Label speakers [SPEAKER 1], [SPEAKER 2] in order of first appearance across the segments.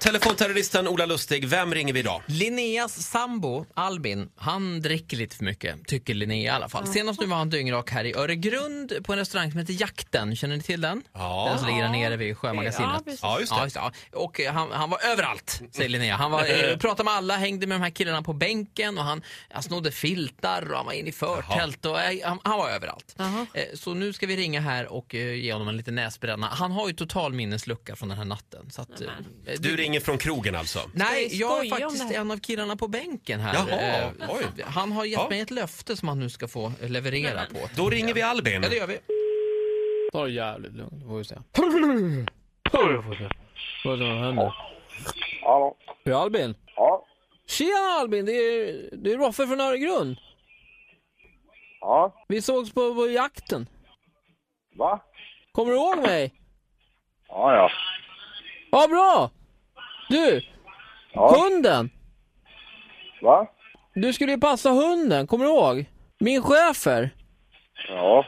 [SPEAKER 1] Telefonterroristen Ola Lustig, vem ringer vi idag?
[SPEAKER 2] Linneas sambo Albin, han dricker lite för mycket, tycker Linnea i alla fall. Senast nu var han dyngrak här i Öregrund på en restaurang som heter Jakten. Känner ni till den?
[SPEAKER 1] Ja.
[SPEAKER 2] Den som ligger där nere vid
[SPEAKER 3] Ja,
[SPEAKER 2] Sjömagasinet.
[SPEAKER 3] precis.
[SPEAKER 1] Ja, just det.
[SPEAKER 2] Ja, ja. Och eh, han, han var överallt, säger Linnea. Han var, eh, pratade med alla, hängde med de här killarna på bänken och han, han snodde filtar och han var inne i förtält och eh, han, han var överallt.
[SPEAKER 3] Jaha.
[SPEAKER 2] Eh, Så nu ska vi ringa här och eh, ge honom en liten näsbränna. Han har ju total minneslucka från den här natten. Så att, eh, eh,
[SPEAKER 1] Du ringer från krogen alltså?
[SPEAKER 2] Nej,
[SPEAKER 3] vi
[SPEAKER 2] jag är
[SPEAKER 3] skoja om
[SPEAKER 2] faktiskt
[SPEAKER 3] det här?
[SPEAKER 2] en av killarna på bänken här.
[SPEAKER 1] Jaha,
[SPEAKER 2] Eh,
[SPEAKER 1] oj.
[SPEAKER 2] Han har gett
[SPEAKER 1] Ja.
[SPEAKER 2] mig ett löfte som han nu ska få eh, leverera på.
[SPEAKER 1] Då ringer vi Albin.
[SPEAKER 2] Ja, det gör vi.
[SPEAKER 4] Ta det jävligt lugnt, får vi se. Får vi se. Vad som händer.
[SPEAKER 5] Hallå?
[SPEAKER 4] Hur är Albin?
[SPEAKER 5] Ja.
[SPEAKER 4] Tjena Albin, det är, det är Roffe från Öregrund.
[SPEAKER 5] Ja.
[SPEAKER 4] Vi sågs på, på jakten.
[SPEAKER 5] Va?
[SPEAKER 4] Kommer du ihåg mig?
[SPEAKER 5] Ja, ja.
[SPEAKER 4] Ja, bra! Du,
[SPEAKER 5] Ja.
[SPEAKER 4] hunden!
[SPEAKER 5] Va?
[SPEAKER 4] Du skulle ju passa hunden, kommer du ihåg? Min chefer.
[SPEAKER 5] Ja.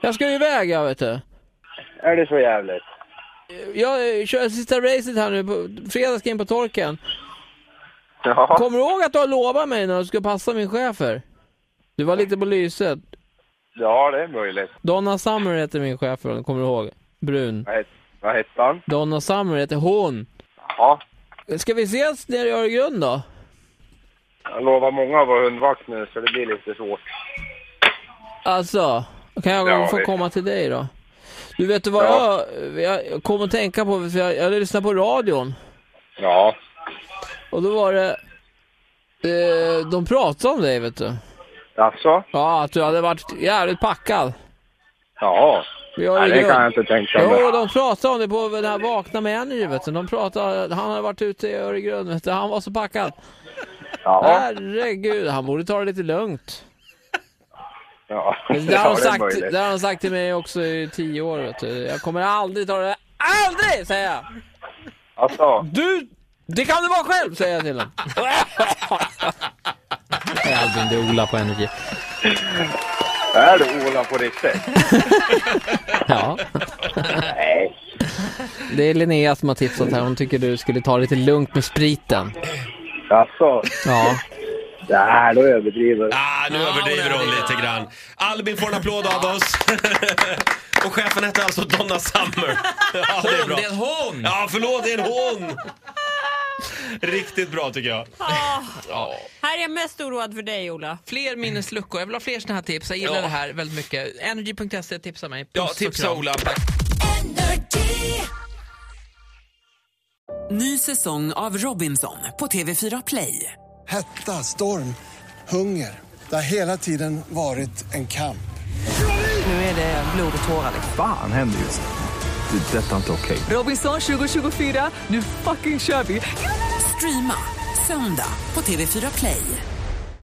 [SPEAKER 4] Jag ska ju iväg, jag vet du.
[SPEAKER 5] Är det så jävligt?
[SPEAKER 4] Jag eh, kör sista racet här nu, på, fredag ska jag in på torken.
[SPEAKER 5] Ja.
[SPEAKER 4] Kommer du ihåg att du har lovat mig när du skulle passa min chefer? Du var lite på lyset.
[SPEAKER 5] Ja, det är möjligt.
[SPEAKER 4] Donna Summer heter min chef, om du kommer ihåg? Brun.
[SPEAKER 5] Vad, het, vad hette han?
[SPEAKER 4] Donna Summer heter hon.
[SPEAKER 5] Ja.
[SPEAKER 4] Ska vi ses nere i Öregrund då?
[SPEAKER 5] Jag lovar många att vara hundvakt nu, så det blir lite svårt.
[SPEAKER 4] Alltså, kan jag
[SPEAKER 5] Ja,
[SPEAKER 4] få
[SPEAKER 5] visst.
[SPEAKER 4] komma till dig då? Du vet du vad
[SPEAKER 5] Ja.
[SPEAKER 4] jag, jag kom att tänka på, för jag, jag lyssnade på radion
[SPEAKER 5] Ja.
[SPEAKER 4] och då var det, eh, de pratade om dig vet du.
[SPEAKER 5] Alltså?
[SPEAKER 4] Ja, att du hade varit jävligt packad.
[SPEAKER 5] Ja.
[SPEAKER 4] Vi har
[SPEAKER 5] Nej,
[SPEAKER 4] ju
[SPEAKER 5] det
[SPEAKER 4] grund-
[SPEAKER 5] kan jag inte tänka
[SPEAKER 4] Jo,
[SPEAKER 5] mig.
[SPEAKER 4] de pratade om det på den här Vakna med Annie, vet du. De pratade, han hade varit ute i Öregrund, vet du. Han var så packad.
[SPEAKER 5] Ja.
[SPEAKER 4] Herregud, han borde ta det lite lugnt.
[SPEAKER 5] Ja.
[SPEAKER 4] Men det har
[SPEAKER 5] Ja,
[SPEAKER 4] de
[SPEAKER 5] det är
[SPEAKER 4] sagt,
[SPEAKER 5] möjligt.
[SPEAKER 4] det har de sagt till mig också i tio år. Vet du. Jag kommer aldrig ta det. Aldrig! säger jag.
[SPEAKER 5] Alltså?
[SPEAKER 4] Du! Det kan du vara själv, säger jag till honom. Hej Albin, det är Ola på Energy.
[SPEAKER 5] Är du Ola på riktigt?
[SPEAKER 4] Ja.
[SPEAKER 5] Nej.
[SPEAKER 4] Det är Linnea som har tipsat här. Hon tycker du skulle ta det lite lugnt med spriten.
[SPEAKER 5] Alltså?
[SPEAKER 4] Ja.
[SPEAKER 5] Nej, då överdriver
[SPEAKER 1] Ah, nu överdriver hon lite grann. Albin får en applåd av oss. Och chefen hette alltså Donna Summer. Ja, det är
[SPEAKER 2] Hon,
[SPEAKER 1] bra.
[SPEAKER 2] det är hon!
[SPEAKER 1] Ja, förlåt, det är en hon! Riktigt bra tycker jag.
[SPEAKER 3] Här är jag mest oroad för dig, Ola.
[SPEAKER 2] Fler minnesluckor. Jag vill ha fler såna här tips. Jag gillar
[SPEAKER 1] Ja.
[SPEAKER 2] det här väldigt mycket. Energy.se tipsar mig. Puss
[SPEAKER 1] Ja,
[SPEAKER 2] och
[SPEAKER 1] tipsa
[SPEAKER 2] kram.
[SPEAKER 1] Ola.
[SPEAKER 6] Ny säsong av Robinson på TV4 Play.
[SPEAKER 7] Hetta, storm, hunger. Det har hela tiden varit en kamp.
[SPEAKER 6] Nu är det blod och tårar.
[SPEAKER 8] Fan händer just nu. Det. är Detta är inte okej.
[SPEAKER 6] Robinson 2024, nu fucking kör vi! Streama söndag på TV4 Play.